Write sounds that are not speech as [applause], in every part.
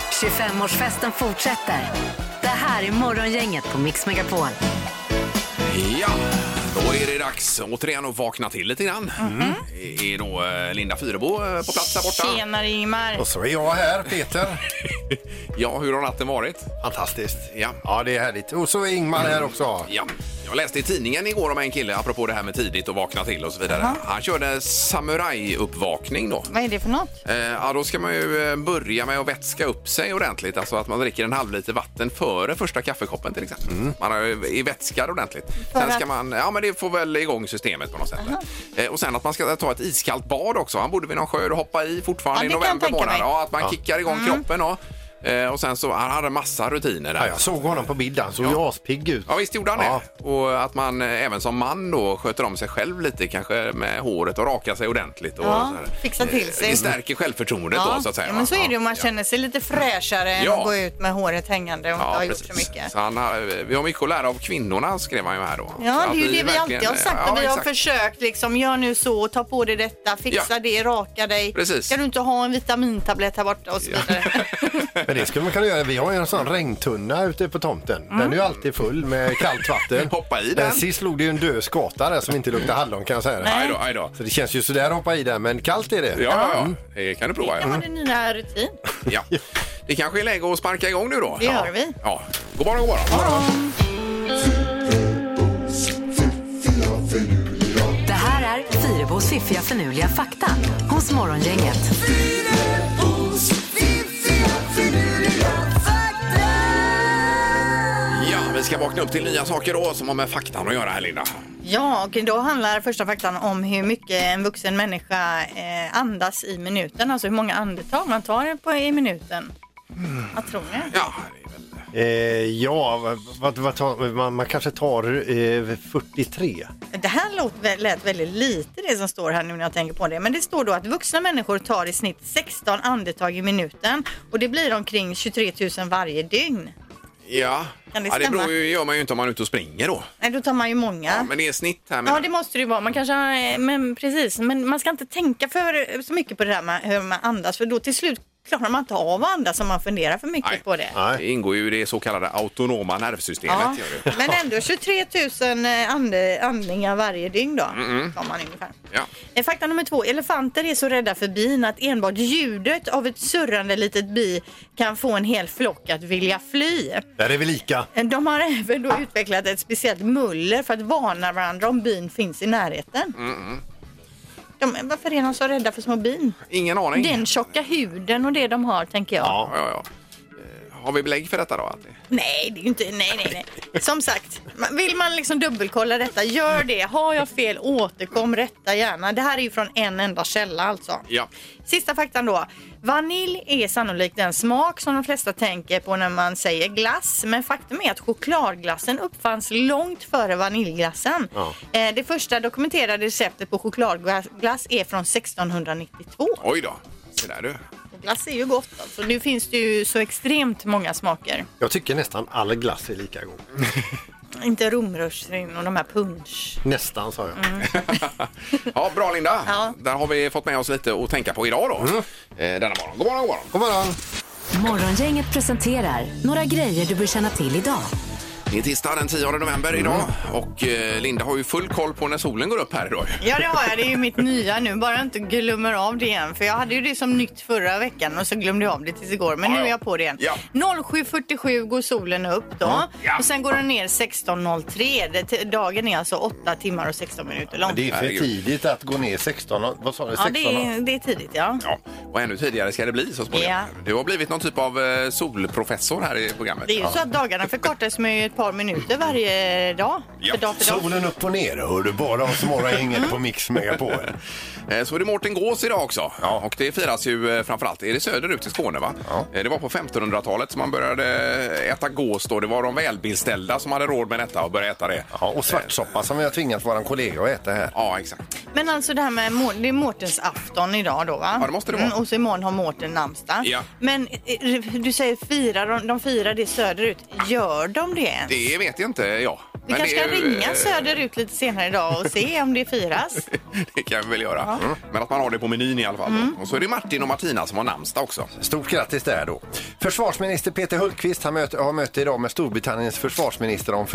25-årsfesten fortsätter. Det här är Morgongänget på Mix Megapol. Ja, då är det dags återigen att vakna till lite grann. Det är då eh, Linda Fyrebo eh, på plats där borta. Tjenare Ingmar. Och så är jag här, Peter. Ja, hur har natten varit? Fantastiskt. Ja. Ja, det är härligt. Och så är Ingmar här också. Ja, jag läste i tidningen igår om en kille, apropå det här med tidigt och vakna till och så vidare. Han körde samurajuppvakning då. Vad är det för något? Eh, ja, då ska man ju eh, börja med att vätska upp sig ordentligt. Alltså att man dricker en halv liter vatten före första kaffekoppen till exempel. Man är, är vätskad ordentligt. Sen ska Mm. att- man, ja men det får väl igång systemet på något sätt. Eh, och sen att man ska ta ett iskallt bad också. Han bodde vid någon sjö och hoppa i fortfarande Ja, i det kan jag november tänka månad. mig. Ja, att man kickar igång kroppen och, eh, och sen så, han hade massa rutiner där. Ja, jag såg honom på bild. Han såg ju aspigg ut. Ja, visst gjorde han Ja. det. Och att man eh, även som man då sköter om sig själv lite, kanske med håret och rakar sig ordentligt. Och Ja, så här. Eh, fixa till sig. Det stärker självförtroendet då, så att säga. ja, va? men så är det ju. Man känner sig lite fräschare än Ja. att gå ut med håret hängande och inte Ja, ha gjort precis. så mycket. Så han har, eh, vi har mycket att lära av kvinnorna, skrev han ju här då. Ja, Att det är ju det vi verkligen- eh, alltid har sagt. Ja, och vi har exakt. försökt liksom, gör nu så, ta på dig detta, fixa Ja. det, raka dig. Precis. Kan du inte ha en vitamintablett här borta och så [laughs] vidare. [laughs] Men det skulle man kunna göra. Vi har ju en sån regntunna ute på tomten. Den är ju alltid full med kallt [laughs] vatten. Hoppa i den. Men Sist slog det ju en död skata där som inte luktar hallon kan jag säga. Aj dig. då, aj då. Så det känns ju sådär att hoppa i den, men kallt är det. Ja, ja, ja. Det kan du prova. Det var Ja. din nya rutin. Ja. Det kanske är läge att sparka igång nu då. Det gör vi. Ja. God morgon, god morgon. Det här är Fyrebos fiffiga förnuliga fakta hos Morgongänget. Ja, vi ska vakna upp till nya saker då som har med faktan att göra här, Linda. Ja, och då handlar första faktan om hur mycket en vuxen människa eh, andas i minuten. Alltså hur många andetag man tar på, i minuten. Vad tror ni? Ja, det är väl- Eh, ja, vad, vad, vad tar, man, man kanske tar eh, 43. Det här låt, vä- lät väldigt lite det som står här nu när jag tänker på det. Men det står då att vuxna människor tar i snitt 16 andetag i minuten och det blir omkring 23 000 varje dygn. ja. Kan det ja, det stämma? beror ju, gör man ju inte om man är ute och springer då. Nej, då tar man ju många. Ja, men det är snitt här. Men... Ja, det måste det ju vara. Man kanske, har- eh, men precis, men man ska inte tänka för eh, så mycket på det där med hur man andas för då till slut klarar man inte av att andas om man funderar för mycket Nej. på det. Nej. Det ingår ju i det så kallade autonoma nervsystemet. Ja. Gör det. Men ändå 23 000 ande, andningar varje dygn då. Tar man ungefär. Ja. Eh, Fakta nummer två. Elefanter är så rädda för bin att enbart ljudet av ett surrande litet bi kan få en hel flock att vilja fly. Där är vi lika. Eh, De har även då utvecklat ett speciellt muller för att varna varandra om bin finns i närheten. De, varför är de så rädda för små bin? Ingen aning. Den tjocka huden och det de har tänker jag. Ja, ja, ja. Eh, Har vi belägg för detta då? Att det... Nej, det är ju inte... Nej, nej, nej. Som sagt, man- vill man liksom dubbelkolla detta, gör det. Har jag fel, återkom, rätta gärna. Det här är ju från en enda källa alltså. Ja. Sista faktan då. Vanilj är sannolikt den smak som de flesta tänker på när man säger glass. Men faktum är att chokladglassen uppfanns långt före vaniljglassen. Ja. Eh, Det första dokumenterade receptet på chokladglass är från 1692. Oj då. Se där du. Och Glass är ju gott alltså. Nu finns det ju så extremt många smaker. Jag tycker nästan all glass är lika god. Inte romrörsrin och de här punsch. Nästan sa jag. [laughs] Ja, bra Linda. Ja. Där har vi fått med oss lite att tänka på idag då. Eh, Denna morgon. God morgon, god morgon. God morgon! Morgongänget presenterar några grejer du bör känna till idag. Det är tisdag den 10 november idag och eh, Linda har ju full koll på när solen går upp här idag. Ja det har jag, det är ju mitt nya nu. Bara jag inte glömmer av det igen. För jag hade ju det som nytt förra veckan och så glömde jag av det tills igår. Men Ja, nu är ja. jag på det igen. Ja. 07.47 går solen upp då. Ja. Och sen går den ner 16.03. Det- t- Dagen är alltså 8 timmar och 16 minuter lång. Det är för Herregud. tidigt att gå ner 16. och- Vad sa du? ja, 16? det, är, det är tidigt ja. Ja, och ännu tidigare ska det bli så småningom. Ja. Du har blivit någon typ av eh, solprofessor här i programmet. Det är ju så att dagarna förkortas med ett par minuter varje dag. Ja. För dag för dag. Solen upp och ner hör du bara om morgonhänget på Mix Megapol. Eh, Så är det Mårten Gås idag också. Och det firas ju eh, framförallt, är det söderut i Skåne va? Eh, Det var på 1500-talet som man började eh, äta gås då. Det var de välbeställda som hade råd med detta och började äta det. Ja, och svartsoppa som vi har tvingat våran kollega att äta här. Ja, exakt. Men alltså det här med Må- det är Mårtens afton idag då va? Mm, Ja, det måste det vara. och så imorgon har Mårten namnsdag. Ja. Men eh, du säger firar de, de firar det söderut. Gör de det? Det vet jag inte jag. Vi Men kanske det är kan ju, ringa eh, söderut lite senare idag och se om det firas. [laughs] Det kan vi väl göra. Mm. Men att man har det på menyn i alla fall. Mm. Och så är det Martin och Martina som har namnsdag också. Stort grattis där då. Försvarsminister Peter Hultqvist han möte, har möte idag med Storbritanniens försvarsminister om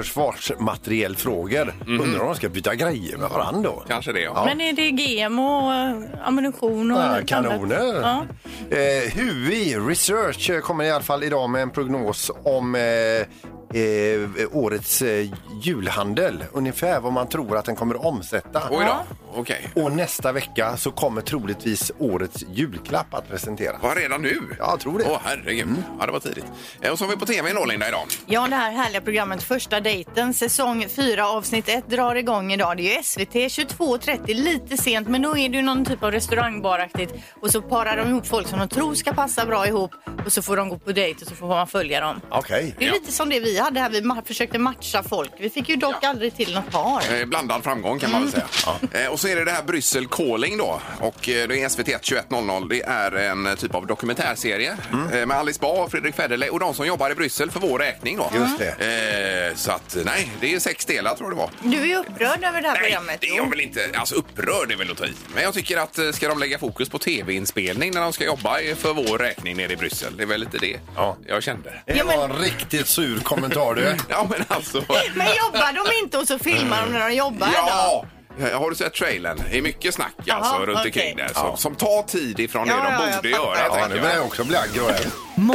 försvarsmaterielfrågor. Undrar om de ska byta grejer med varandra då? Kanske det, ja. Men är det GMO, eh, ammunition och Ja, allt kanoner. annat? Ja. Eh, Hui Research eh, kommer i alla fall idag med en prognos om eh, eh, årets eh, julhandel. Ungefär vad man tror att den kommer att omsätta. Oj då, okej. Och nästa vecka så kommer troligtvis årets julklapp att presenteras. Var redan nu? Ja, jag tror det. Mm. Åh, herregud. Ja, det var tidigt. Eh, Och så har vi på tv då, Linda, idag. Ja, det här härliga programmet Första dejten, säsong 4, avsnitt 1 drar igång idag. Det är ju SVT 22.30, lite sent, men då är det ju någon typ av restaurangbaraktigt. Och så parar de ihop folk som de tror ska passa bra ihop och så får de gå på dejt och så får man följa dem. Okej. Det är Ja. lite som det vi hade här, vi ma- försökte matcha folk. Vi fick ju dock Ja. aldrig till något par. Eh, Blandad framgång kan man väl Mm. säga. Eh, Och så är det det här Bryssel Calling då. Och eh, det är SVT 21.00. Det är en eh, typ av dokumentärserie Mm. eh, med Alice Bah och Fredrik Federley och de som jobbar i Bryssel för vår räkning då. Just Eh, Så att nej, det är sex delar tror jag det var. Du är ju upprörd över det här Nej, programmet. det är jag väl inte. Alltså upprörd är väl att ta i. Men jag tycker att eh, ska de lägga fokus på tv-inspelning när de ska jobba eh, för vår räkning nere i Bryssel? Det är väl lite det Ja. jag kände. Det Ja, men- var en riktigt sur kommentar [laughs] du. Ja, men alltså. Men jobbar de inte och så filmar de när de jobbar då? Ja! Har du sett trailern? Det är mycket snack alltså Jaha, runt okej. omkring det. Som, som tar tid ifrån Ja, det de ja, jag borde fattar. göra. Ja, nu tänker börjar jag. jag också bli aggro här.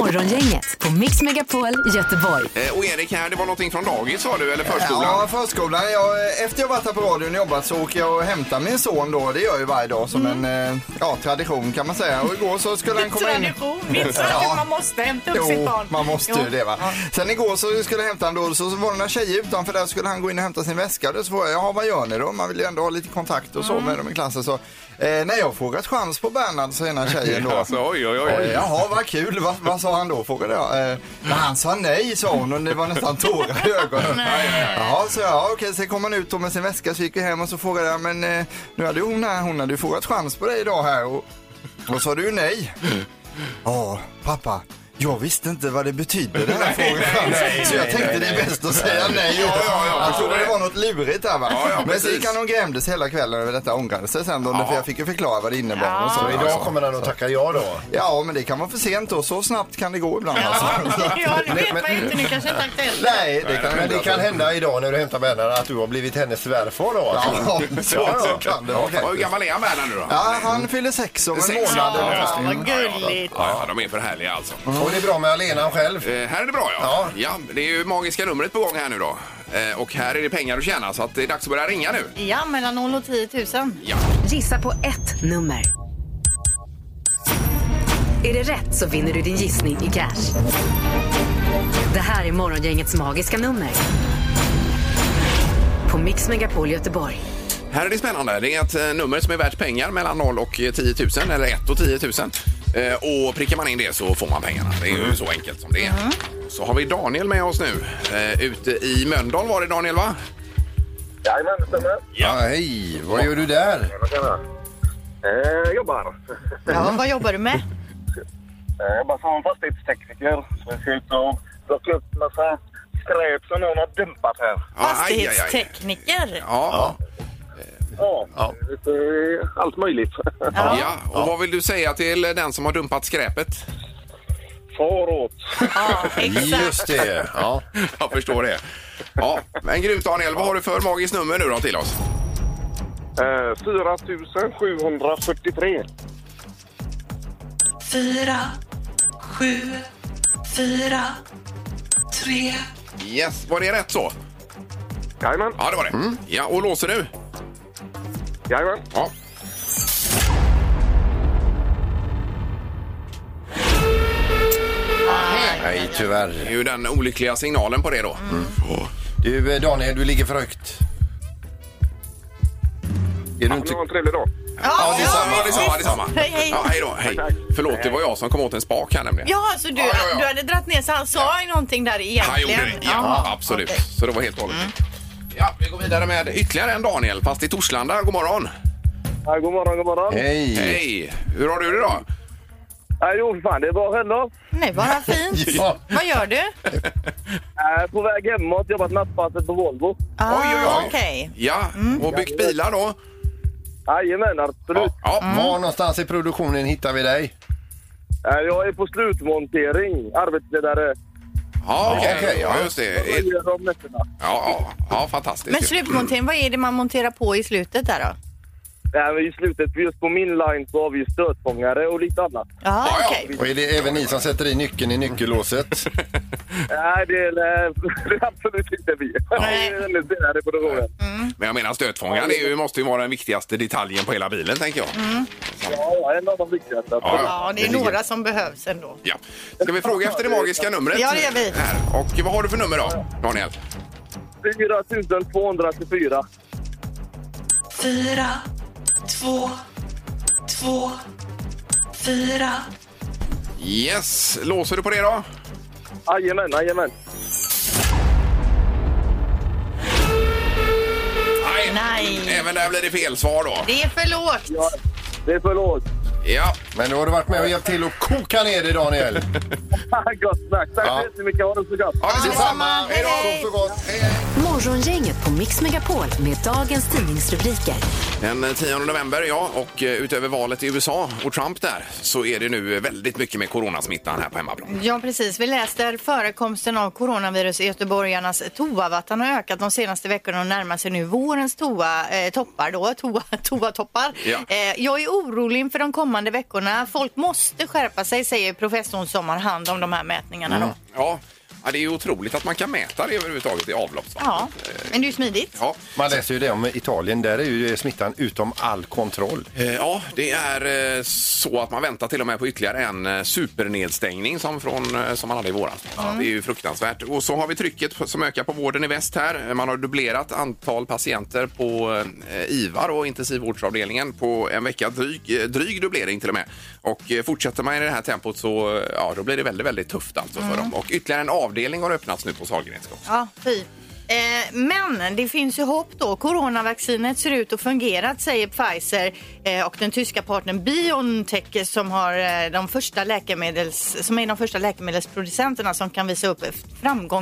Morgongänget på Mix Megapol Göteborg. Eh, Och Erik här, det var någonting från dagis sa du, eller förskolan? Ja, förskolan. Jag, eh, efter jag varit här på radion och jobbat så åker jag och hämtar min son då. Det gör jag ju varje dag som en eh, ja, tradition kan man säga. Och igår så skulle han komma in... Tradition, det är inte så [laughs] Ja. att man måste hämta upp sitt Jo, barn. man måste Jo. ju det va. Sen igår så skulle jag hämta honom då, så så var det några tjejer utanför där så skulle han gå in och hämta sin väska. Då så frågade jag, ja vad gör ni då? Man vill ju ändå ha lite kontakt och så med dem i klassen. Så, eh, nej jag har frågat chans på Bernhard, sa ena [laughs] tjejen då. Alltså, oj, oj, oj. Eh, Jaha, vad kul. Vad, vad sa han då? frågade jag. Eh, Men han sa nej, sa hon och det var nästan tårar i ögonen. Jaha, så jag. Ja, okej, sen kom han ut då med sin väska så gick vi hem och så frågade jag, men eh, nu hade ju hon här, hon hade ju frågat chans på dig idag här och, och sa du nej? Ja, pappa. Jag visste inte vad det betydde den här frågan. så jag tänkte det är bäst att säga nej. Ja, ja, ja, jag trodde det var något lurigt där va. Ja, ja, Men så precis. gick han och grämdes hela kvällen över detta. Ångrade sig sen då. För jag fick ju förklara vad det innebar. Och så. Så idag kommer han att tacka ja då. Ja, men det kan vara för sent då. Så snabbt kan det gå ibland alltså. Ja, nu vet man ju inte. Nu kanske inte är aktuellt. [laughs] Nej, det kan Men det inte. kan hända idag när du hämtar Bernhard att du har blivit hennes svärfar då. alltså. [laughs] Ja, så, så kan det vara. Ja, Hur gammal är han här nu då? Ja, han fyller sex om en Sex, månad. ja. eller något. Ja, vad gulligt. Ja, de är för härliga alltså. Mm. Och det är bra med Alena själv. Eh, här är det bra, ja. ja. Det är ju magiska numret på gång här nu då. Eh, och här är det pengar att tjäna, så att det är dags att börja ringa nu. Ja, mellan 0 och 10 000. Ja. Gissa på ett nummer. Är det rätt så vinner du din gissning i cash. Det här är Morgongängets magiska nummer. På Mix Megapol Göteborg. Här är det spännande. Det är ett eh, nummer som är värt pengar mellan 0 och eh, 10 000, eller 1 och 10 000. Eh, och prickar man in det så får man pengarna. Det är ju så enkelt som det är. Så har vi Daniel med oss nu. Eh, ute i Mölndal var det Daniel, va? Jajamän, det stämmer. Ja, hej, vad gör du där? Tjena, tjena. Eh, jobbar. Ja, vad jobbar du med? Eh, jobbar som fastighetstekniker. Så jag ska ut och plocka upp massa skräp som någon har dumpat här. Ja, aj, aj, aj. Fastighetstekniker. Ja, Ja, Eh, lite allt möjligt. ja. Och vad vill du säga till den som har dumpat skräpet? Far åt. Ja, exakt. Just det. Ja. [laughs] Jag förstår det. Ja, men grymt Daniel. Vad har du för magiskt nummer nu då till oss? Eh, 4 743. 4, 7, 4, 3. Yes, var det rätt så? Jajamän, Mm. Ja, det var det. Ja, och låser du? jajamän. Ja. Nej, Det tyvärr. är ju den olyckliga signalen på det då. Mm. Åh. Du, eh, Daniel, du ligger för högt. Är du inte... Ha en trevlig dag. Ja, detsamma, detsamma, detsamma. Hej, hej. Ja, hej då, hej. Tack, tack. Förlåt, det var jag som kom åt en spak här nämligen. Ja, så du, Ja, ja, ja. du hade dratt ner så han sa ju någonting där egentligen. Han gjorde det, ja, Jaha, absolut. okej. Mm. Så det var helt och hållet. Ja, vi går vidare med ytterligare en Daniel, fast i Torslanda. God morgon! Ja, god morgon, god morgon. Hej. Hej! Hur har du det då? Nej, jo, för fan, det är bra själv Nej, bara fint. [laughs] Ja. Vad gör du? äh, På väg hemåt, jobbat nattpasset på Volvo. [laughs] Oj, oj, oj. Okej. Ja, Mm. och byggt bilar då? Jajamän, absolut. Ja, ja. Mm. Var någonstans i produktionen hittar vi dig? Äh, Jag är på slutmontering, arbetsledare. ja okej. okej, ja. ja, just det. Jag Ja, gör om nätterna. ja, ja fantastiskt. Men slutmontering, vad är det man monterar på i slutet där då? Äh, men I slutet, just på min line, så har vi ju stötfångare och lite annat. Ja, Ja, ja. okej. Och är det även ni som sätter i nyckeln i nyckellåset? Nej, det är, nej, det är [laughs] absolut inte vi. Nej. Det är väldigt delade på produktionen. Men jag menar stötfångaren är ju, måste ju vara den viktigaste detaljen på hela bilen, tänker jag. Mm. Ja, en av de viktigaste. Ja. Ja, det är några som behövs ändå. Ja. Ska vi fråga efter det magiska numret? Ja, det gör vi. Här. Och vad har du för nummer då, Daniel? 4224. fyra, två, två, fyra. Yes, låser du på det då? Jajamän, jajamän. Nej. Även där blir det fel svar då. Det är för lågt. Det är för lågt. Ja, Men då har du varit med och hjälpt till att koka ner det, Daniel. [laughs] Gott snack. Tack Ja. så jättemycket. Ha det så gott. ja Detsamma! Hej då. Sov så gott! Morgongänget på Mix Megapol med dagens tidningsrubriker. Den 10 november, ja. Och eh, utöver valet i USA och Trump där så är det nu eh, väldigt mycket med coronasmittan här på hemmaplan. Ja, precis. Vi läser förekomsten av coronavirus i göteborgarnas toavatten har ökat de senaste veckorna och närmar sig nu vårens toa, eh, toppar då. Toa, [laughs] toa toppar. Ja. Eh, jag är orolig inför de kommande veckorna. Folk måste skärpa sig, säger professorn som har hand om de här mätningarna. Då. Ja. ja, det är ju otroligt att man kan mäta det överhuvudtaget i avloppsvatten. Ja, men det är ju smidigt. Ja. Man läser ju det om Italien. Där är ju smittan utom all kontroll. Eh, Ja, det är eh, så att man väntar till och med på ytterligare en eh, supernedstängning som, från, eh, som man hade i våras. Det är ju fruktansvärt. Och så har vi trycket på- som ökar på vården i väst här. Eh, Man har dubblerat antal patienter på eh, IVA och intensivvårdsavdelningen på en vecka. Dryg, eh, dryg dubblering till och med. Och eh, fortsätter man i det här tempot så eh, ja, då blir det väldigt, väldigt tufft alltså för dem. Och ytterligare en avdelning har öppnats nu på Sahlgrenska också. Ja, fy. Eh, Men det finns ju hopp då. Coronavaccinet ser ut att fungera, säger Pfizer eh, och den tyska partnern Biontech som, har eh, de första läkemedels, som är de första läkemedelsproducenterna som kan visa upp ett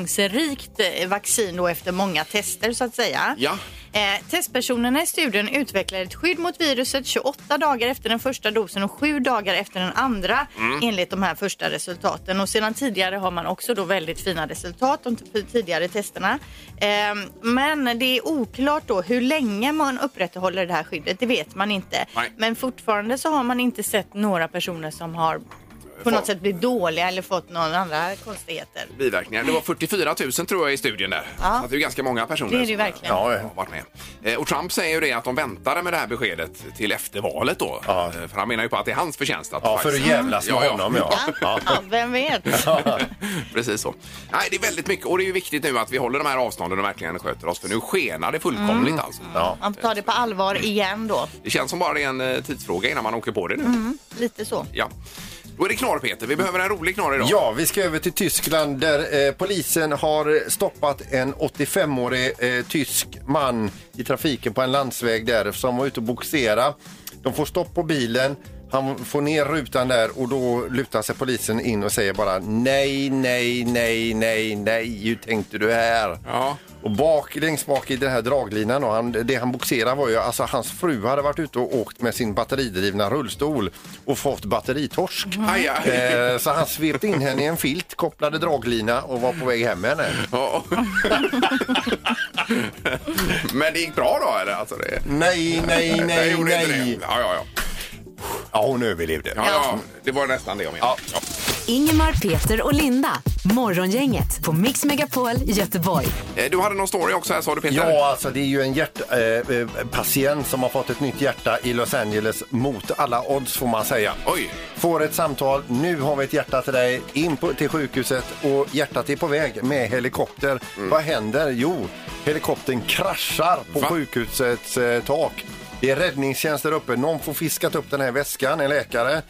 framgångsrikt eh, vaccin då efter många tester så att säga. Ja. Eh, Testpersonerna i studien utvecklar ett skydd mot viruset 28 dagar efter den första dosen och 7 dagar efter den andra enligt de här första resultaten. Och sedan tidigare har man också då väldigt fina resultat de t- tidigare testerna. Ehm, Men det är oklart då hur länge man upprätthåller det här skyddet. Det vet man inte. Nej. Men fortfarande så har man inte sett några personer som har på något sätt blivit dåliga eller fått några andra konstigheter. biverkningar. Det var 44 000 tror jag i studien där. Ja. Så att det är ganska många personer Det är det som verkligen. har- har varit med. Eh, Och Trump säger ju det att de väntade med det här beskedet till efter valet då. Ja. Eh, För han menar ju på att det är hans förtjänst. Att Ja, för att faktiskt- jävlas med Ja, ja. honom, ja. ja. Ja, vem vet? [laughs] Precis så. Nej, det är väldigt mycket och det är ju viktigt nu att vi håller de här avstånden och verkligen sköter oss för nu skenar det fullkomligt alltså. Ja. Man tar det på allvar igen då. Det känns som bara det är en eh, tidsfråga innan man åker på det nu. Lite så. Ja. Då är det knorr Peter. Vi behöver en rolig knorr idag. Ja, vi ska över till Tyskland där eh, polisen har stoppat en 85-årig eh, tysk man i trafiken på en landsväg där som var ute och boxera. De får stopp på bilen, han får ner rutan där och då lutar sig polisen in och säger bara nej, nej, nej, nej, nej, hur tänkte du här? Ja. Och bak, längst bak i den här draglinan, och han, det han boxerade var ju, alltså hans fru hade varit ute och åkt med sin batteridrivna rullstol och fått batteritorsk. Aj, aj. Eh, Så han svepte in henne i en filt, kopplade draglina och var på väg hem med henne. Ja. Men det gick bra då eller? Alltså det... Nej, nej, jag gjorde inte det. Ja, ja, ja. Ja, hon överlevde. Ja, ja, det var nästan det jag menade. Ja. Ingemar, Peter och Linda. Morgongänget på Mix Megapol Göteborg. Eh, Du hade någon story också här sa du Peter? Ja, alltså det är ju en hjärtpatient eh, patient som har fått ett nytt hjärta i Los Angeles mot alla odds får man säga. Oj. Får ett samtal, nu har vi ett hjärta till dig, in på, till sjukhuset och hjärtat är på väg med helikopter. Vad händer? Jo, helikoptern kraschar på Va? sjukhusets eh, tak. Det är räddningstjänst där uppe, någon får fiskat upp den här väskan, en läkare.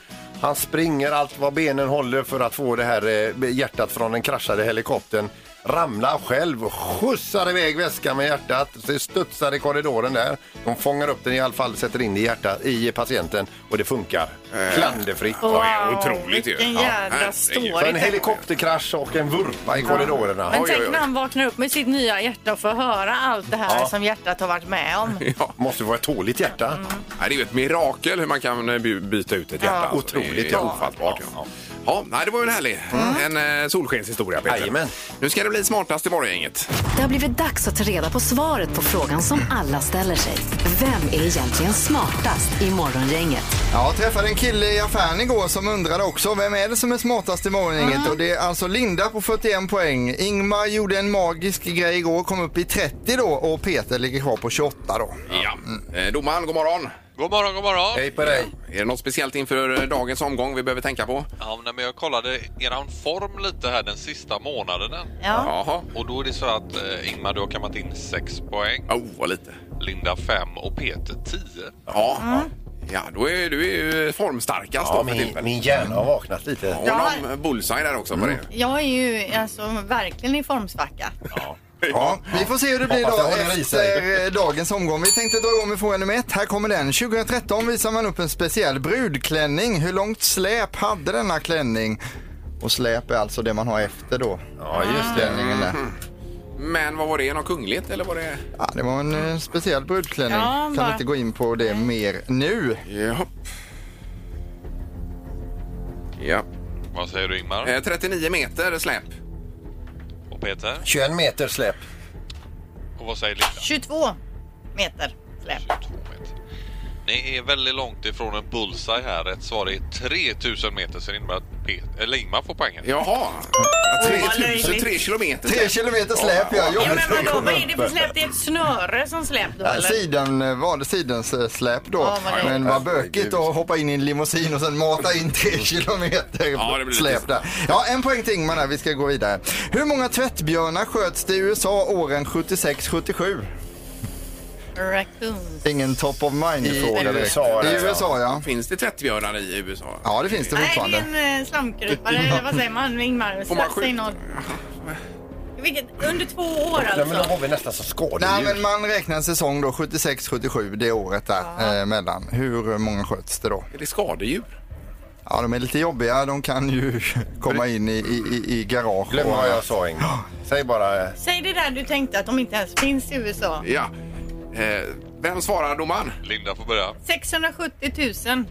Han springer allt vad benen håller för att få det här eh, hjärtat från den kraschade helikoptern. ramlar själv och skjutsar iväg väskan med hjärtat. Så det studsar i korridoren där. De fångar upp den i alla fall, sätter in det i hjärtat i patienten och det funkar. Klanderfritt. det är otroligt ju. vilken Ja, jädra herregud. Så story. en helikopterkrasch och en vurpa i korridorerna. Men Oj, oj, tänk oj. när han vaknar upp med sitt nya hjärta och får höra allt det här som hjärtat har varit med om. Ja. Måste vara ett tåligt hjärta. Mm. Nej, det är ju ett mirakel hur man kan eh, by- byta ut ett hjärta. Ja. alltså. Det är Otroligt, ja. Mm. ofattbart. Ja. Ja, nej, det var ju en härlig en, eh, solskenshistoria, Peter. Jajamän. Nu ska det bli smartast i morgongänget. Det har blivit dags att ta reda på svaret på frågan som alla ställer sig. Vem är egentligen smartast i morgongänget? Ja, jag träffade en kille i affären igår som undrade också vem är det som är smartast i morgongänget Mm. och det är alltså Linda på 41 poäng. Ingmar gjorde en magisk grej igår, kom upp i 30 då och Peter ligger kvar på 28 då. Ja. Mm. Eh, Domaren, god morgon. God morgon, god morgon. Hej på dig. Är det något speciellt inför eh, dagens omgång vi behöver tänka på? Ja, men jag kollade eran form lite här den sista månaden. Ja. Jaha. Och då är det så att eh, Ingmar, du har kammat in 6 poäng, Oh, vad lite. Linda 5 och Peter 10. Ja. Ja, då är du är ju formstarkast Mm. Ja, då för min, tillfället. min hjärna har vaknat lite. Och Ja. någon bullseye där också på det. Jag är ju alltså verkligen i formsvacka. Ja, vi får se hur det blir Hoppas då det håller i sig. efter eh, dagens omgång. Vi tänkte dra igång med fråga nummer ett. Här kommer den. 2013 visar man upp en speciell brudklänning. Hur långt släp hade denna klänning? Och släp är alltså det man har efter då. Ja, just det. Klänningen där. Mm. Men vad var det? Något kungligt eller var det? Ja, det var en eh, speciell brudklänning. Ja, kan bara- inte gå in på det mer nu. Ja. Ja. Vad säger du Ingmar Eh, 39 meter släp. och Peter? 21 meter släpp. Och vad säger Linda? 22 meter släp. 22 meter. Ni är väldigt långt ifrån en bullseye här. Rätt svar är 3000 meter, så det innebär att Peter, eller Ingmar får poängen. Jaha. Oj, vad 3000, löjligt. 3 kilometer. Tre kilometer släp, ja. Jo, Jobbigt. men vadå, vad är det för släp? Det är ett snöre som släp då, Ja, eller? Sidan, eh, var det sidens eh, släp då? Ja, vad det- men vad bökigt att hoppa in i en limousin och sen mata in tre kilometer Ja, det blir lite- släp där. Ja, en poäng till Ingmar där, vi ska gå vidare. Hur många tvättbjörnar sköts det i USA åren 76-77? Raccoons. Ingen top of mind-fråga. I direkt. USA, I där, USA ja. Finns det tvättbjörnar i USA? Ja, det finns det Nej, det fortfarande. är en eh, slamkrypare. eller Vad säger man, Ingmar? Får man Slafsa in skjuta? någon. Vilket, under två år Nej, men då alltså? har vi nästan som Nej, skådedjur. men man räknar en säsong då, 76-77, det året där eh, mellan. Hur många sköts det då? Är det skadedjur? Ja, de är lite jobbiga. De kan ju [laughs] komma in i, i, i- i garage. Glöm och- vad jag sa, Ingmar. Säg bara... eh, Säg det där du tänkte att de inte ens finns i USA. Ja. Eh, vem svarar domaren? Linda får börja. 670 000.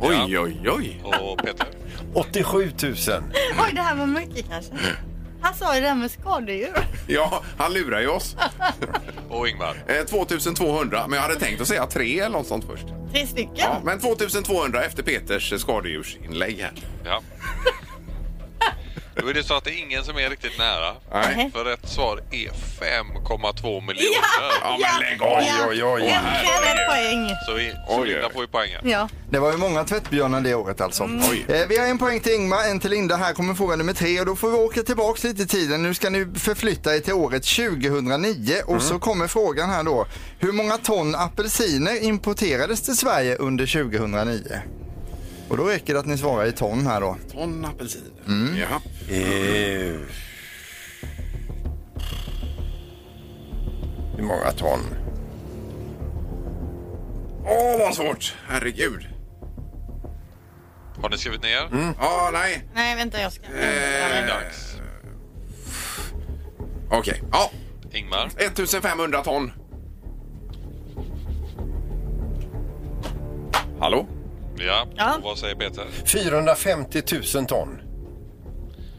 Oj, oj, oj. Och Peter? 87 000. Oj, det här var mycket kanske. Han sa ju det här med skadedjur. Ja, han lurar ju oss. Och Ingmar? Eh, 2200, men jag hade tänkt att säga tre eller något sånt först. Tre stycken. Ja, men 2200 efter Peters eh, skadedjursinlägg här. Ja. Då är det så att det är ingen som är riktigt nära. Nej. För rätt svar är 5,2 miljoner. Ja, Ja. men lägg av! Ja. Oj, oj, oj. Äntligen en poäng. Så, i, så Oj, Linda oj. får ju poängen. Ja. Det var ju många tvättbjörnar det året alltså. Oj. Eh, vi har en poäng till Ingmar, en till Linda. Här kommer fråga nummer tre och då får vi åka tillbaks lite i tiden. Nu ska ni förflytta er till året 2009 och så kommer frågan här då. Hur många ton apelsiner importerades till Sverige under 2009? Och då räcker det att ni svarar i ton här då. Ton apelsin. Ja. Eh. Ew. Hur många ton? Åh, vad svårt! Herregud. Har ni skrivit ner? Ja, nej. Nej, vänta jag ska... Det är Eh, dags. Okej. Ja, Ingmar? 1500 ton. Hallå? Ja. Ja. Och vad säger Peter? 450 000 ton.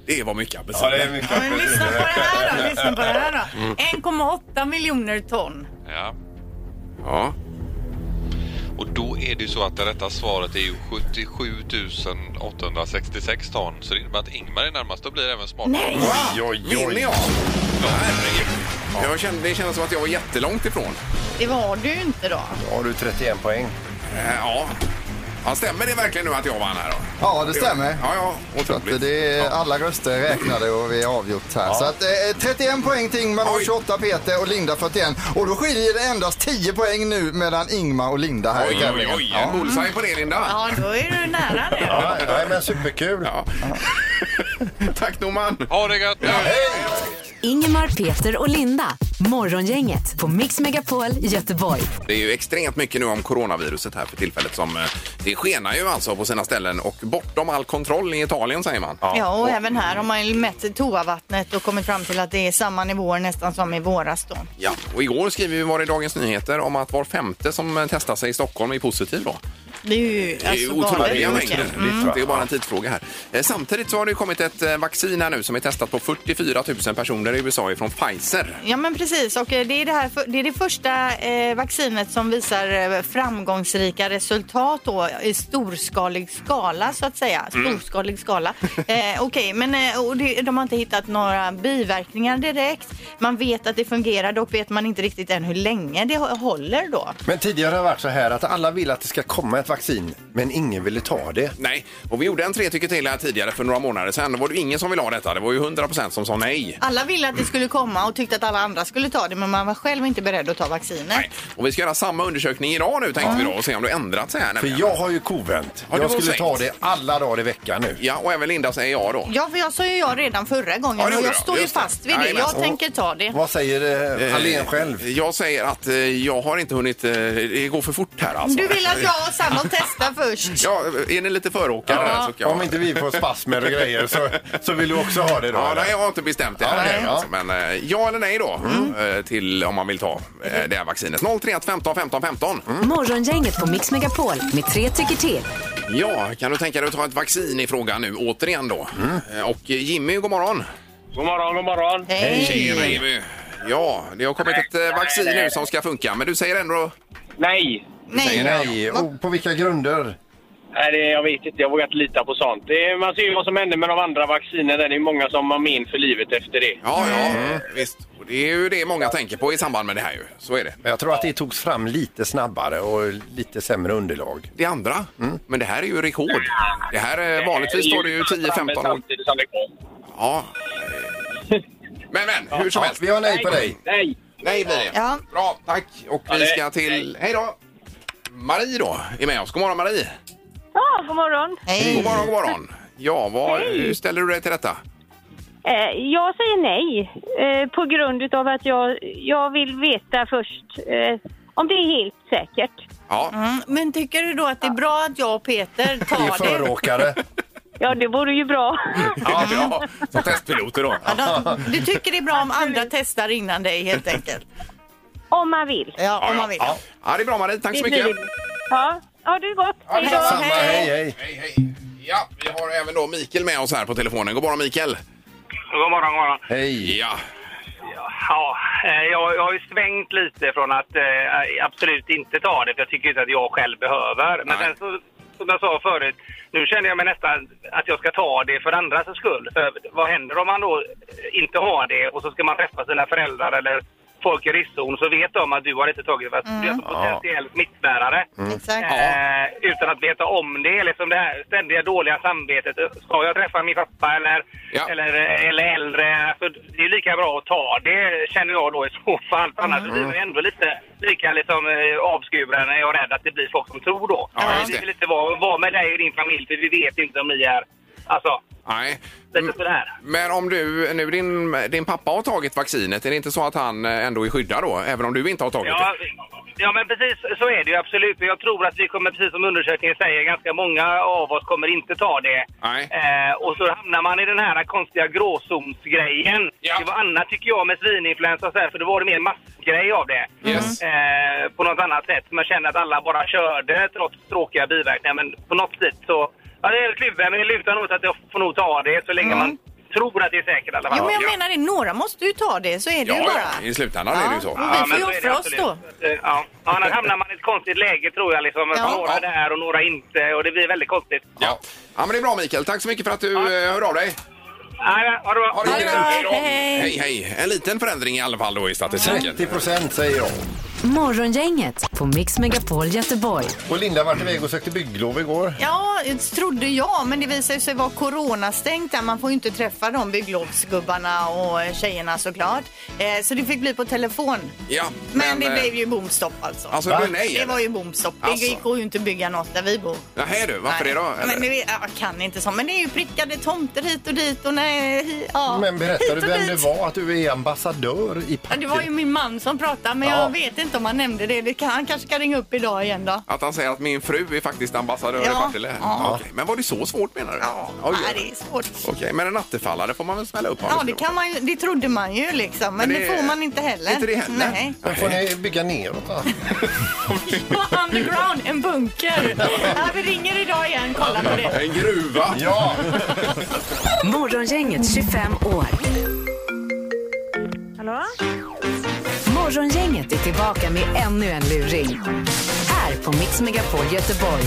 Det var mycket apelsin. mycket. Ja, men lyssna på det här då. Lyssna på det här då. 1,8 miljoner ton. Ja. Ja. Och då är det ju så att det rätta svaret är ju 77 866 ton. Så det innebär att Ingmar är närmast och blir även smartare. Nej! Oj, oj, Vinner oj. jag? Ja, herregud. Jag kände, det kändes som att jag var jättelångt ifrån. Det var du ju inte då. Då har du 31 poäng. Eh, ja. ja. Stämmer det verkligen nu att jag vann här då? Ja, det stämmer. Ja, ja. Så att Otroligt. det är alla röster räknade och vi är avgjort här. Så att, eh, 31 poäng till Ingmar och Oj. 28 Peter och Linda 41. Och då skiljer det endast 10 poäng nu mellan Ingmar och Linda här i Oj, oj, tävlingen. oj. Ja. Bullseye på det, Linda. Ja, då är du nära nu. Nej, nej, men superkul. Ja. [laughs] Tack Norman! Ha det gött! Ingemar, Peter och Linda. Morgongänget på Mix Megapol Göteborg. Det är ju extremt mycket nu om coronaviruset här för tillfället som eh, det skenar ju alltså på sina ställen och bortom all kontroll i Italien säger man. Ja, och även här har man ju mätt toavattnet och kommit fram till att det är samma nivåer nästan som i våras då. Ja, och igår skrev vi var i Dagens Nyheter om att var femte som eh, testar sig i Stockholm är positiv då. Det är ju Det är ju alltså otroliga galet mycket. mängder. Mm. Det är bara en tidsfråga här. Eh, Samtidigt så har det ju kommit ett eh, vaccin här nu som är testat på 44 000 personer i USA från Pfizer. Ja men precis och eh, det är det, här, för- det, är det första eh, vaccinet som visar eh, framgångsrika resultat då, i storskalig skala så att säga. Mm. Storskalig skala. Eh, Okej men eh, och det, de har inte hittat några biverkningar direkt. Man vet att det fungerar dock vet man inte riktigt än hur länge det hå- håller då. Men tidigare har det varit så här att alla vill att det ska komma ett vaccin, men ingen ville ta det. Nej, och vi gjorde en tre tycker till här tidigare för några månader sedan. Då var det ju ingen som ville ha detta. Det var ju 100 som sa nej. Alla ville att det skulle komma och tyckte att alla andra skulle ta det men man var själv inte beredd att ta vaccinet. Nej. Och vi ska göra samma undersökning idag nu tänkte vi då och se om det har ändrat sig här. För nämligen. jag har ju kovänt. Ja, du jag har skulle ta sänkt. det alla dagar i veckan nu. Ja, och även Linda säger ja då. Ja, för jag sa ju ja redan förra gången Ja, det och gjorde jag du. står ju Just det. alltså- fast vid det. Jajamän. Jag tänker ta det. Vad säger eh, Allén Eh, själv? Jag säger att eh, jag har inte hunnit, eh, det går för fort här alltså. Du vill att jag och Sanna testar först? Ja, är ni lite föråkare där så kan jag... Om inte vi får spasmer och grejer så, så vill du också ha det då? Ja, eller? nej, jag har inte bestämt det Ja, här nej, än, ja. Mm. alltså, Men eh, ja eller nej då eh, till om man vill ta eh, det här vaccinet. 031 15 15 15. Mm. Morgongänget på Mix Megapol med tre tycker till. Ja, kan du tänka dig att ta ett vaccin i frågan nu återigen då? Mm. Eh, Och eh, Jimmy, god morgon. God morgon, god morgon. Tjena Jimmy. Ja, det har kommit ett eh, vaccin nu som ska funka, men du säger ändå... Nej, Nej. Nej, och på vilka grunder? Nej, det, jag vet inte. Jag vågar inte lita på sånt. Det, är- man ser ju vad som händer med de andra vaccinen. där. Det är många som har men för livet efter det. Ja, ja, Mm. visst. Och det är ju det många tänker på i samband med det här ju. Så är det. Men jag tror att det togs fram lite snabbare och lite sämre underlag. Det andra, Mm. men det här är ju rekord. Det här är vanligtvis står det ju 10-15 år. Samtidigt som det kom. Ja. eh, Men men, hur som Ja, helst. vi har nej på dig. Nej! Nej blir det. Ja. Bra, tack. Och Ja, vi det- ska till... Hej då! Marie då är med oss. God morgon Marie! Ja, god morgon. God Hej. morgon, god morgon. Ja, vad, hur ställer du dig till detta? Eh, jag säger nej eh, på grund utav att jag, jag vill veta först eh, om det är helt säkert. Ja, Mm, Men tycker du då att det är bra att jag och Peter Vi är tar det? [laughs] föråkare. Ja, det vore ju bra. [laughs] ja, ja som testpiloter då. Ja, de- Du tycker det är bra om andra testar innan dig helt enkelt? om man vill. Ja, om man vill. Ja. ja, det är bra Marie. Tack så Det blir mycket. det. Ja, ja det är gott. Hej då. Samma, hej, hej. Hej, hej. Ja, vi har även då Mikael med oss här på telefonen. God morgon Mikael! God morgon, god morgon. Hej. Ja, Ja, eh, jag, jag har ju svängt lite från att eh, absolut inte ta det, för jag tycker inte att jag själv behöver. Men Nej. sen så, som jag sa förut, nu känner jag mig nästan att jag ska ta det för andras skull. För vad händer om man då inte har det och så ska man träffa sina föräldrar eller folk i riskzon så vet de att du har inte tagit det, för Mm. att du är en potentiell smittbärare. Exakt. Eh, utan att veta om det. Liksom det här ständiga dåliga samvetet. Ska jag träffa min pappa eller, Ja. eller, eh, eller äldre? Alltså, det är lika bra att ta det känner jag då i så fall. För Mm. annars blir jag ändå lite lika liksom, eh, avskuren. när Jag är rädd att det blir folk som tror då. Ja, just det. Vi vill inte vara, vara med dig och din familj för vi vet inte om ni är... Alltså, nej. Mm. lite sådär. Men om du, nu din, din pappa har tagit vaccinet, är det inte så att han eh, ändå är skyddad då? Även om du inte har tagit det? Ja, ja, men precis så är det ju absolut. Jag tror att vi kommer, precis som undersökningen säger, ganska många av oss kommer inte ta det. Nej. Eh, och så hamnar man i den här konstiga gråzonsgrejen. Ja. Det var annat tycker jag med svininfluensa, så här, för då var det mer massgrej av det. Yes. Eh, på något annat sätt. Man känner att alla bara körde trots tråkiga biverkningar. Men på något sätt så... Ja, det är kluven, men det lutar nog åt att jag får nog ta det så länge Mm. man tror att det är säkert i alla fall. Jo, men jag Ja. menar det, några måste ju ta det, så är det Ja, ju bara. ja, i slutändan är det ju så. Ja. Vi får men ju så är det offra oss absolut. då. Eh, Ja. Ja, Annars hamnar man i ett konstigt läge tror jag. Liksom. Ja. Några Ja. där och några inte och det blir väldigt konstigt. Ja. ja, men det är bra Mikael. Tack så mycket för att du eh, hör av dig. Ja, ja, ha det bra. Ha det det gott. bra. Hej, då. Hej, hej, hej. En liten förändring i alla fall då i statistiken. 30 procent säger jag. Morgongänget på Mix Megapol Göteborg. Och Linda vart iväg och sökte bygglov igår. Ja, det trodde jag, men det visade sig vara coronastängt där. Man får ju inte träffa de bygglovsgubbarna och tjejerna såklart. Eh, så det fick bli på telefon. Ja, Men, det eh, blev ju bomstopp alltså. Alltså, Va? det blev nej? det eller? var ju bomstopp. Alltså. Det går ju inte att bygga något där vi bor. Nähä du, varför Nej. det då? Ja, Men, Eller? men, jag kan inte så. Men det är ju prickade tomter hit och dit och nej, hi, ja. Men berättar du Hit och vem dit. det var, att du är ambassadör i Ja, packet? det var ju min man som pratade, men Ja. jag vet inte om han nämnde det. det kan, han kanske ska ringa upp idag igen då. Att han säger att min fru är faktiskt ambassadör i Ja. Partille? Ja. okej. Men var det så svårt menar du? Ja, Oj, nej, oj. det är svårt. Okej, men en attefallare får man väl smälla upp Ja, det, kan man ju, det trodde man ju liksom, men Men det, det- får man inte heller. Inte det heller? Nej. Men får ni bygga neråt då? Underground, en bunker. Ja, vi ringer idag igen, kolla på det. En gruva! Ja! Morgongänget 25 år. Hallå? Morgongänget är tillbaka med ännu en luring. Här på Mix Megapol Göteborg.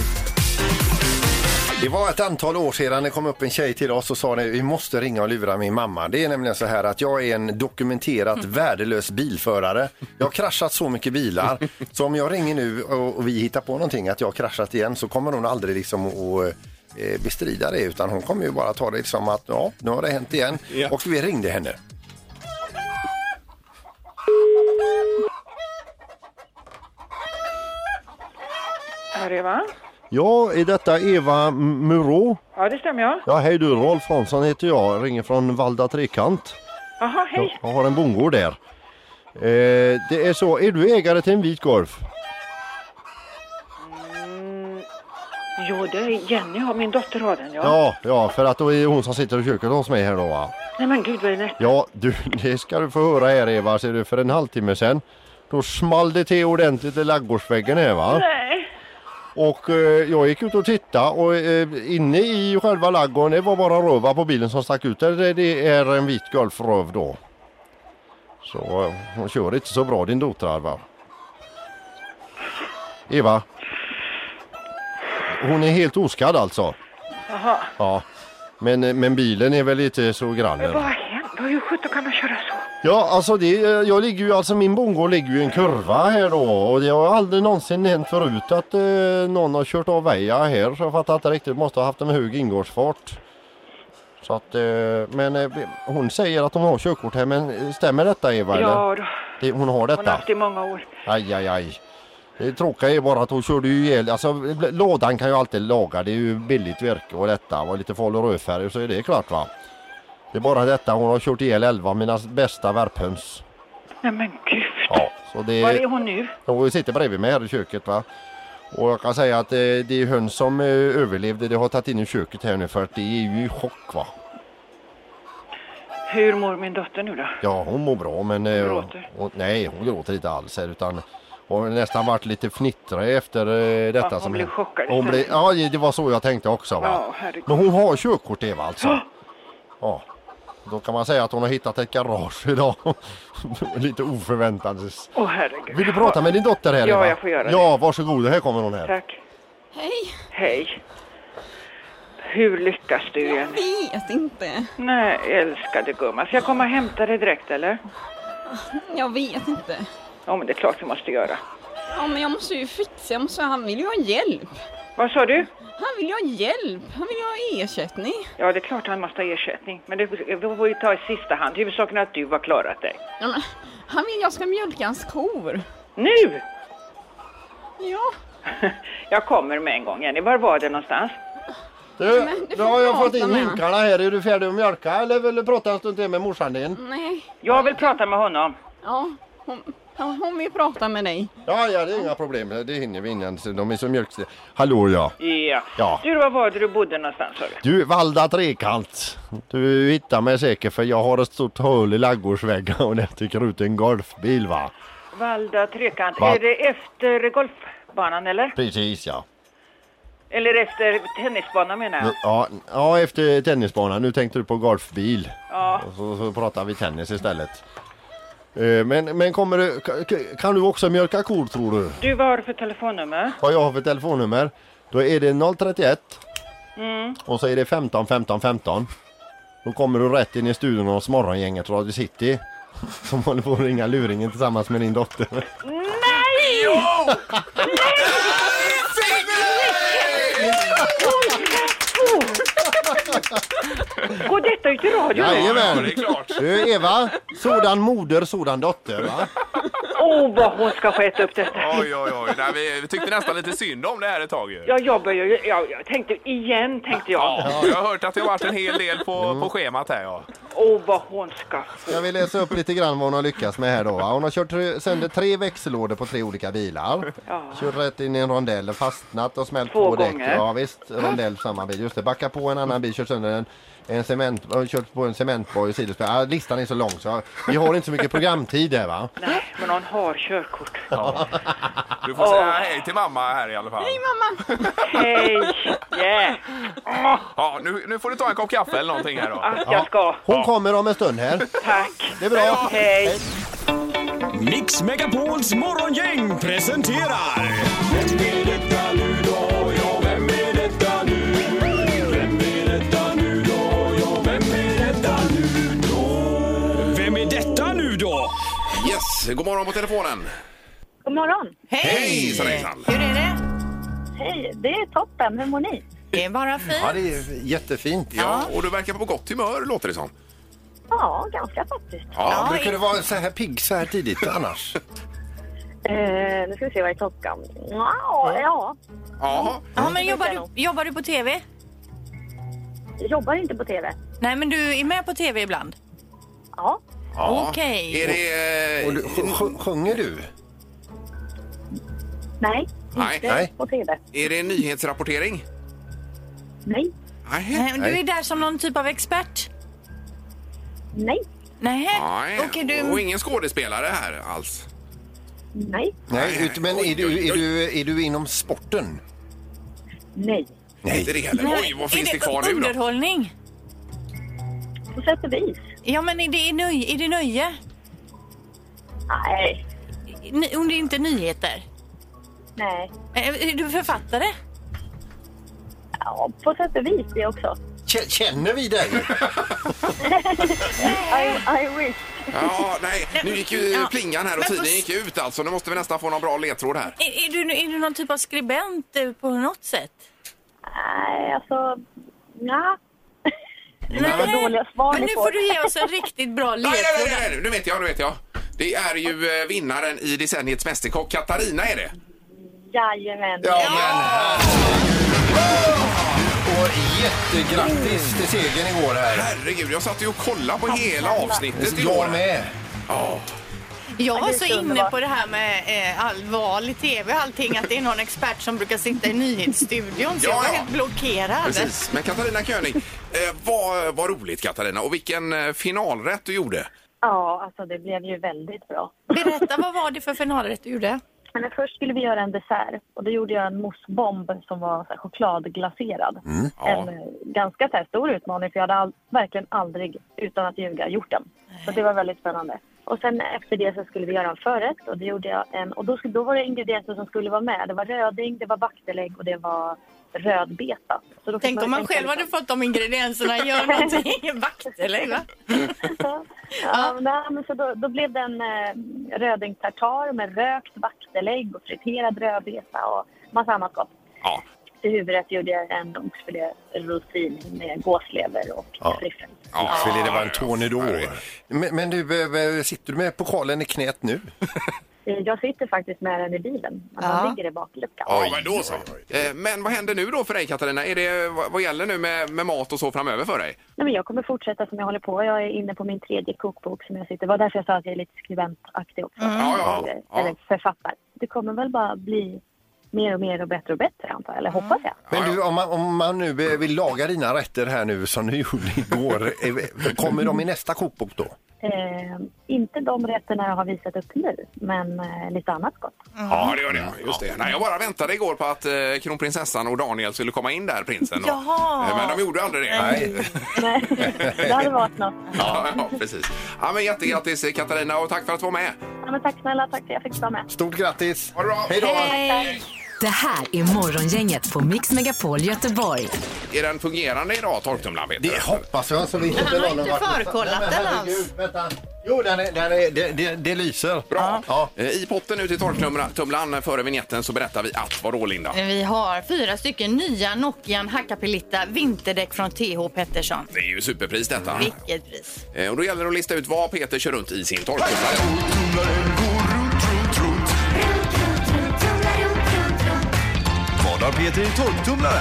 Det var ett antal år sedan det kom upp en tjej till oss och sa att vi måste ringa och lura min mamma. Det är nämligen så här att jag är en dokumenterat värdelös bilförare. Jag har kraschat så mycket bilar så om jag ringer nu och och vi hittar på någonting att jag har kraschat igen så kommer hon aldrig liksom att eh, bestrida det utan hon kommer ju bara ta det som att ja, nu har det hänt igen. Ja. Och vi ringde henne. Här är Eva. Ja, är detta Eva Murå? Ja, det stämmer ja. Ja, hej du, Rolf Hansson heter jag, ringer från Valda Trekant. Jaha, Jag, hej. jag har en bondgård där. Eh, det är så, är du ägare till en vit Golf? Mm, Jo, det är Jenny, har- min dotter har den ja. Ja, ja, för att då är det hon som sitter i köket hos mig här då va. Nej men gud vad är det? Ja, du, [laughs] det ska du få höra här Eva, ser du, för en halvtimme sedan. Då small det till ordentligt i ladugårdsväggen här va. Nej. Och eh, jag gick ut och tittade och eh, inne i själva ladugården, det var bara röva på bilen som stack ut. Det, det är en vit golfröv då. Så eh, hon kör inte så bra din dotter va. Eva. Hon är helt oskadd alltså. Jaha. Ja. Men, eh, men bilen är väl lite så grann. Vad har hänt? Vad- Hur sjutton kan de köra så? Ja, alltså det, jag ligger ju, alltså min bondgård ligger ju i en kurva här då och det har aldrig någonsin hänt förut att eh, någon har kört av väja här så jag fattar inte riktigt, måste ha haft en hög ingångsfart. Så att, eh, men eh, hon säger att hon har körkort här men eh, stämmer detta Eva eller? Ja, då. Det, hon har hon har detta? haft det i många år. Aj, aj, aj. Det tråkiga är bara att hon körde ju ihjäl, alltså bl- lådan kan ju alltid laga, det är ju billigt virke och detta och lite farlig rödfärg så är det klart va. Det är bara detta, hon har kört ihjäl elva av mina bästa värphöns. Nej men gud. Ja, så Var är det, hon nu? hon sitter bredvid mig här i köket va. Och jag kan säga att eh, det är höns som eh, överlevde, det har tagit in i köket här nu för att det är ju i chock va. Hur mår min dotter nu då? Ja, hon mår bra men... eh, gråter? hon- nej, hon gråter inte alls här utan hon har nästan varit lite fnittrig efter eh, detta. Ja, hon som blev hände. chockad Hon blev, istället. ja, det var så jag tänkte också va. Ja, herregud. men hon har körkort Eva alltså. Ja. Då kan man säga att hon har hittat ett garage idag. [laughs] lite oförväntandes. Åh herregud. Vill du prata med din dotter här Ja, Eva? jag får göra det. Ja, varsågod. Här kommer hon här. Tack. Hej. Hej. Hur lyckas du igen? vet inte. Nej, älskade gumman. Ska jag komma och hämta dig direkt eller? Jag vet inte. Ja, men det är klart vi måste göra. Ja, men jag måste ju fixa. Jag måste, han vill ju ha hjälp. Vad sa du? Han vill ju ha hjälp. Han vill ju ha ersättning. Ja, det är klart han måste ha ersättning. Men det det får vi ta i sista hand. Huvudsaken är att du har klarat dig. Ja, men, han vill jag ska mjölka hans kor. Nu! Ja, [laughs] Jag kommer med en gång, Jenny. Var var det någonstans? Du, Men du nu får har jag prata fått in med henne. hinkarna här. Är du färdig att mjölka eller vill du prata en stund till med morsan din? nej. Jag vill prata med honom. Ja, hon, hon, hon vill prata med dig. Ja, ja, det är inga problem. Det hinner vi innan. så De är så mjölkstiga. Hallå ja. Ja. Ja. Du, var var det du bodde någonstans, sa du? Du, Valda Trekant. Du hittar mig säkert för jag har ett stort hål i ladugårdsväggen och där sticker ut en golfbil va? Valda Trekant. Va- Är det efter golfbanan, eller? Precis ja. Eller efter tennisbanan, menar jag. Ja, ja efter tennisbanan. Nu tänkte du på golfbil. Ja. Och Så, så pratar vi tennis istället. Eh, Men, men kommer du, ka- kan du också mjölka kor tror du? Du, vad har du för telefonnummer? vad jag har för telefonnummer. Då är det 031 och så är det 15 15 15. Då kommer du rätt in i studion hos morgongänget Radio City. Som håller på att ringa luringen tillsammans med din dotter. Nej, Går detta ut i radio? Ja, det är klart. Du Eva, sådan moder, sådan dotter va? Åh, oh, vad hon ska få äta upp detta. Oj, oj, oj. Nej, vi, vi tyckte nästan lite synd om det här ett tag ju. Ja, jag börjar ju... Jag, jag tänkte igen, tänkte jag. Åh, Ja, jag har hört att det har varit en hel del på, på schemat här ja. oh, vad hon ska... Jag vill läsa upp lite grann vad hon har lyckats med här då. va? Hon har kört tre- sönder tre växellådor på tre olika bilar. Ja. Kört rätt in i en rondell, fastnat och smält Två två däck. gånger. Ja visst, rondell på samma bil. Just det, backa på en annan bil, kört sönder en, en cement, och kört på en cementboj och sidospår. Ja, listan är så lång så jag- vi har inte så mycket programtid här va. Nej, men hon har körkort. Du får säga hej till mamma här i alla fall. mamma! Hej! Yeah! Åh, Ja, nu, nu får du ta en kopp kaffe eller någonting här då. att jag ska. Hon kommer om en stund här. Tack. Det är bra. Hej! Mix Megapols morgongäng presenterar... Vem är detta nu då? Ja, vem är detta nu? Vem är detta nu då? Ja, vem är detta nu då? Vem är detta nu då? Yes, god morgon på telefonen. God morgon! Hej, sa Rexan. Hur är det? Hej, det är toppen. Hur mår ni? Det är bara Ja, fint. det är jättefint. Ja, och du verkar på gott humör låter det som. Ja, ganska faktiskt. Ja, Brukar du vara så här pigg så här tidigt annars? Eh, nu ska vi se, vad är klockan? Ja, ja. ja. Ja, men jobbar du, jobbar du på tv? jag jobbar inte på TV. Nej, men du är med på tv ibland. Ja, ja. Okej. Är Och du, det... eh, sj- sj- sjunger du? nej, Nej. inte Nej. på TV. Är det nyhetsrapportering? Nej, Nej. Nej, Du är där som någon typ av expert? nej, Nej. Nej. Okej, Och du... ingen skådespelare här alls. nej, Nej, ut- men är du, är, du, är du inom sporten? nej. Inte det heller. Oj, vad finns är det kvar nu då? underhållning? På sätt och vis. Ja, men är det, nöj, är det nöje? Nej, Ni- Om det inte är nyheter? nej. Eh, Är du författare? Ja, på sätt och vis det också. K- Känner vi dig? I, I wish. Ja, nej. Nu gick ju Ja. plingan här och Men får- tiden gick ju ut alltså. Nu måste vi nästan få någon bra ledtråd här. Är, är, du, är du någon typ av skribent eh, på något sätt? Nej, alltså... Nja. Nej, Vad dåliga svar Men ni nu får. får du ge oss en riktigt bra Nej, nej, nej, ledtråd. nej, nej, nu vet jag, nu vet jag. Det är ju eh, vinnaren i decenniets mästerkock. Katarina är det. Jajamän. Och jättegrattis till segern igår här. Herregud, jag satt ju och kollade på hela avsnittet Jag igår. med. Ja, Jag var det är så så inne underbart. på det här med eh, all val i tv och allting att det är någon expert som brukar sitta i nyhetsstudion så Ja, jag var ja. helt blockerad. precis. Men Katarina König, eh, vad, vad roligt Katarina. Och vilken eh, finalrätt du gjorde. Ja, alltså det blev ju väldigt bra. Berätta, vad var det för finalrätt du gjorde? Men först skulle vi göra en dessert och då gjorde jag en mossbomb som var så här chokladglaserad. Ja. En eh, ganska så här stor utmaning för jag hade all, verkligen aldrig, utan att ljuga, gjort den. Så det var väldigt spännande. Och sen efter det så skulle vi göra en förrätt och då gjorde jag en, och då, skulle, då var det ingredienser som skulle vara med. Det var röding, det var bakterlägg och det var rödbeta. Så då fick Tänk om man tänka själv hade liksom- fått de ingredienserna, gör [laughs] någonting, vakterlägg va? Ja, men, nej, men så då, då blev det en eh, rödingtartar med rökt bakterlägg och friterad rödbeta och massa annat gott. ja. Till huvudrätt gjorde jag en oxfilé rosin med gåslever och Ja. tryffel. Ja, Oxfilé, det var en Tony ja, Dore. ja. Men, men du, eh, eh, sitter du med pokalen i knät nu? Eh, Jag sitter faktiskt med den i bilen. men Ja. Den ligger i bakluckan. Ja, men då så. Eh, Men vad händer nu då för dig Katarina? Är det, vad vad gäller nu med, med mat och så framöver för dig? Nej, men jag kommer fortsätta som jag håller på. Jag är inne på min tredje kokbok som jag sitter. Det var därför jag sa att jag är lite skribentaktig också. Ja, ja, Eller, Mm. ja. eller författare. Mm. Det kommer väl bara bli mer och mer och bättre och bättre antar jag. Eller Mm. hoppas jag. Men du, om man, om man nu eh, vill laga dina rätter här nu som du gjorde igår, eh, kommer de i nästa kokbok då? Eh, inte de rätterna jag har visat upp nu, men eh, lite annat gott. Ja, det gör det. ja. Just det. Nej, jag bara väntade igår på att eh, kronprinsessan och Daniel skulle komma in där, prinsen. Och, Jaha. Eh, Men de gjorde aldrig det. Nej. Nej, det hade varit något. Ja, ja, precis. Ja, men jättegrattis eh, Katarina och tack för att du var med. Ja, men tack snälla, tack för att jag fick vara med. Stort grattis! Ha det bra. Hej då! Hej! Det här är Morgongänget på Mix Megapol Göteborg. Är den fungerande idag, torktumlaren? Peter? Det hoppas jag. Så vi Han har någon inte vart- förkollat Nej, men den herregud, alls. Vänta. Jo, den är, den är, det, det, det lyser. Bra. Eh, I potten ut i torktumlaren före vignetten så berättar vi att, vadå Linda? Vi har fyra stycken nya Nokian Hakkapeliitta vinterdäck från TH Pettersson. Det är ju superpris detta. Vilket pris! Eh, Och då gäller det att lista ut vad Peter kör runt i sin torktumlare. Vad har Peter i torktumlaren?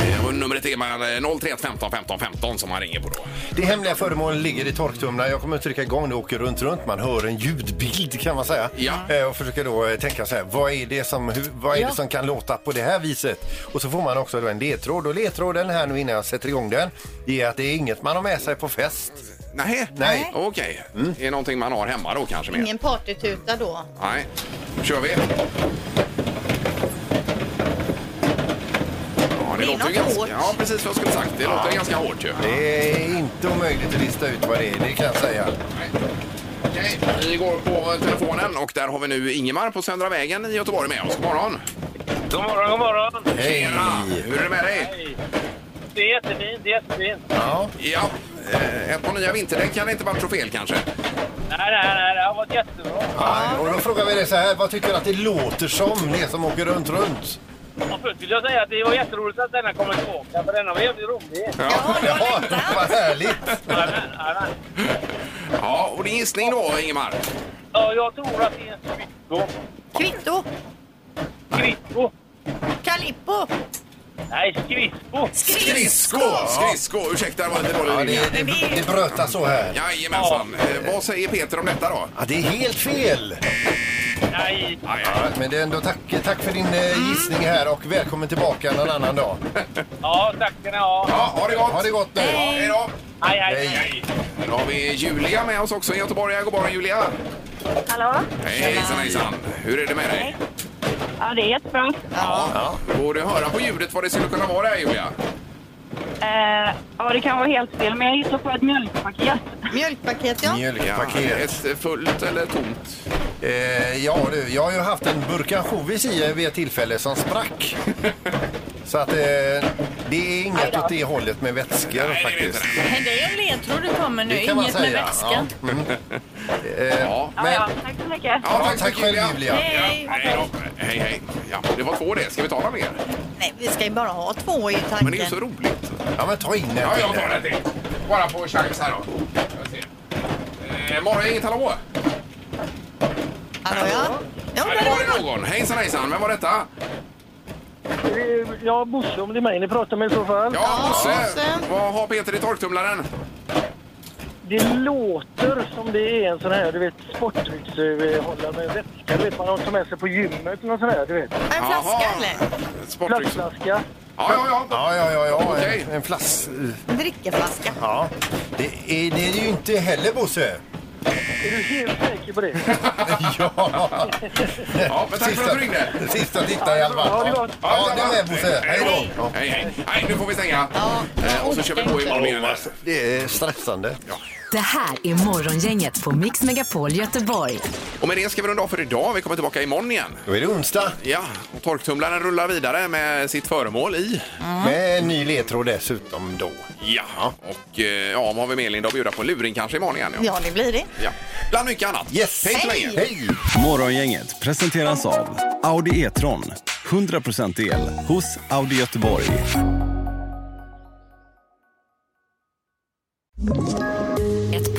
Eh, Och numret är mellan eh, 031 15 15 15 som man ringer på då. Det hemliga föremålet ligger i torktumlaren. Jag kommer att trycka igång det och åker runt, runt. Man hör en ljudbild kan man säga. Ja. Eh, Och försöker då eh, tänka så här, vad är det som, hur, vad är Ja. det som kan låta på det här viset? Och så får man också då en ledtråd. Och ledtråden här nu innan jag sätter igång den, det är att det är inget man har med sig på fest. Nej. Nej. Okej. Det är någonting man har hemma då kanske mer? Ingen partytuta då. Nej. Nu kör vi. Ja, Det det är låter ju något ganska... hårt. Ja, precis vad jag skulle sagt. Det låter ganska hårt ju. Det är inte omöjligt att lista ut vad det är, det kan jag säga. Okej, vi går på telefonen och där har vi nu Ingemar på Södra vägen i Göteborg med oss. God morgon! God morgon, god morgon. Hej! Hur är det med dig? Det är jättefint, det är jättefint. Ja. Ja, eh, ett par nya vinterdäck hade inte varit så fel kanske. Nej, nej, nej, det har varit jättebra. Ja, Och då frågar vi dig så här, vad tycker du att det låter som, det som åker runt, runt? Och först vill jag säga att det var jätteroligt att denna kommer tillbaka, för denna var jävligt rolig. Ja, ja vad härligt! Jajamän, jajamän. Ja, och din gissning då Ingemar? Ja, jag tror att det är en kvitto. Kvitto! Kvitto? Kalippo! Nej, skridsko. Skridsko! Skridsko! Ursäkta, det var lite dålig Ja, vilja. det, det, det brötas så här. Jajamensan. Eh, Vad säger Peter om detta då? Ja, det är helt fel! Nej, Aj, Ja, aj. men det är ändå tack, tack för din eh, gissning här och välkommen tillbaka en annan dag. ja, tack ska ni Ja, ha. ha det gott! Ha det gott nu! Ja, Hej då! Hej, hej, Hej. hej. Då har vi Julia med oss också i Göteborg. God morgon Julia! Hallå? Hej, hejsan hejsan! Hur är det med dig? Ja, det är jättebra. Ja. Går det att höra på ljudet vad det skulle kunna vara där Julia? Eh, ja, det kan vara helt fel, men jag gissar på ett mjölkpaket. Mjölkpaket ja. Mjölkpaket. Ett eh, fullt eller tomt? Eh, ja du, jag har ju haft en burk ansjovis i eh, vid ett tillfälle som sprack. Så att eh, det är inget åt det hållet med vätskor Nej, det är faktiskt. inte Men Det är en ledtråd du kommer nu, Det kan man inget med säga, vätskan. ja. Mm. Eh, Ja. Ja, Men, ja, tack så mycket. Ja, tack, tack själv Julia. Ja, Hej. hej, då. hej, hej. Ja, det var två det. Ska vi ta några mer? Nej, vi ska ju bara ha två i tanken. Men det är ju så roligt. Ja men ta in den Ja, till jag tar dig. det till. Bara på chans här då. Jag ser. Eh, morgon, inget hallå? Hallå ja. Ja, Ja, där det var är det någon. någon. Hejsan hejsan, vem var detta? Eh, Ja, Bosse, om det är mig ni pratar med i så fall. Ja, Bosse. Bosse. Vad har Peter i torktumlaren? Det låter som det är en sån här, du vet, sportdryckshållare med vätska. Du vet, man har tagit med sig på gymmet eller nåt sånt här, du vet. En flaska Jaha. eller? Sportdryck. Ja, Plastflaska. ja, ja. Ja, ja, ja, ja. Okej. En, en flass... En drickeflaska. Ja. Det är det är ju inte heller Bosse. Är du helt säker på det? Ja. Ja, men tack för att du ringde. Sista titta i alla Ha det fall. gott. Ja, det är med Bosse. Hej Hej, då. Ja. hej, hej. Nej, nu får vi stänga. Eh, och så kör vi på imorgon igen. här. Det är stressande. Det här är Morgongänget på Mix Megapol Göteborg. Och med det ska vi runda av för idag. Vi kommer tillbaka imorgon igen. Då är det onsdag Ja, och torktumlaren rullar vidare med sitt föremål i. med en ny ledtråd dessutom då. Ja, och eh, ja, vad har vi mer Linda att bjuda på? Luring kanske imorgon igen? Ja, det blir det. ja. Bland mycket annat. Yes! Hej så länge! Hej! Morgongänget presenteras av Audi E-tron. 100% el hos Audi Göteborg. Ett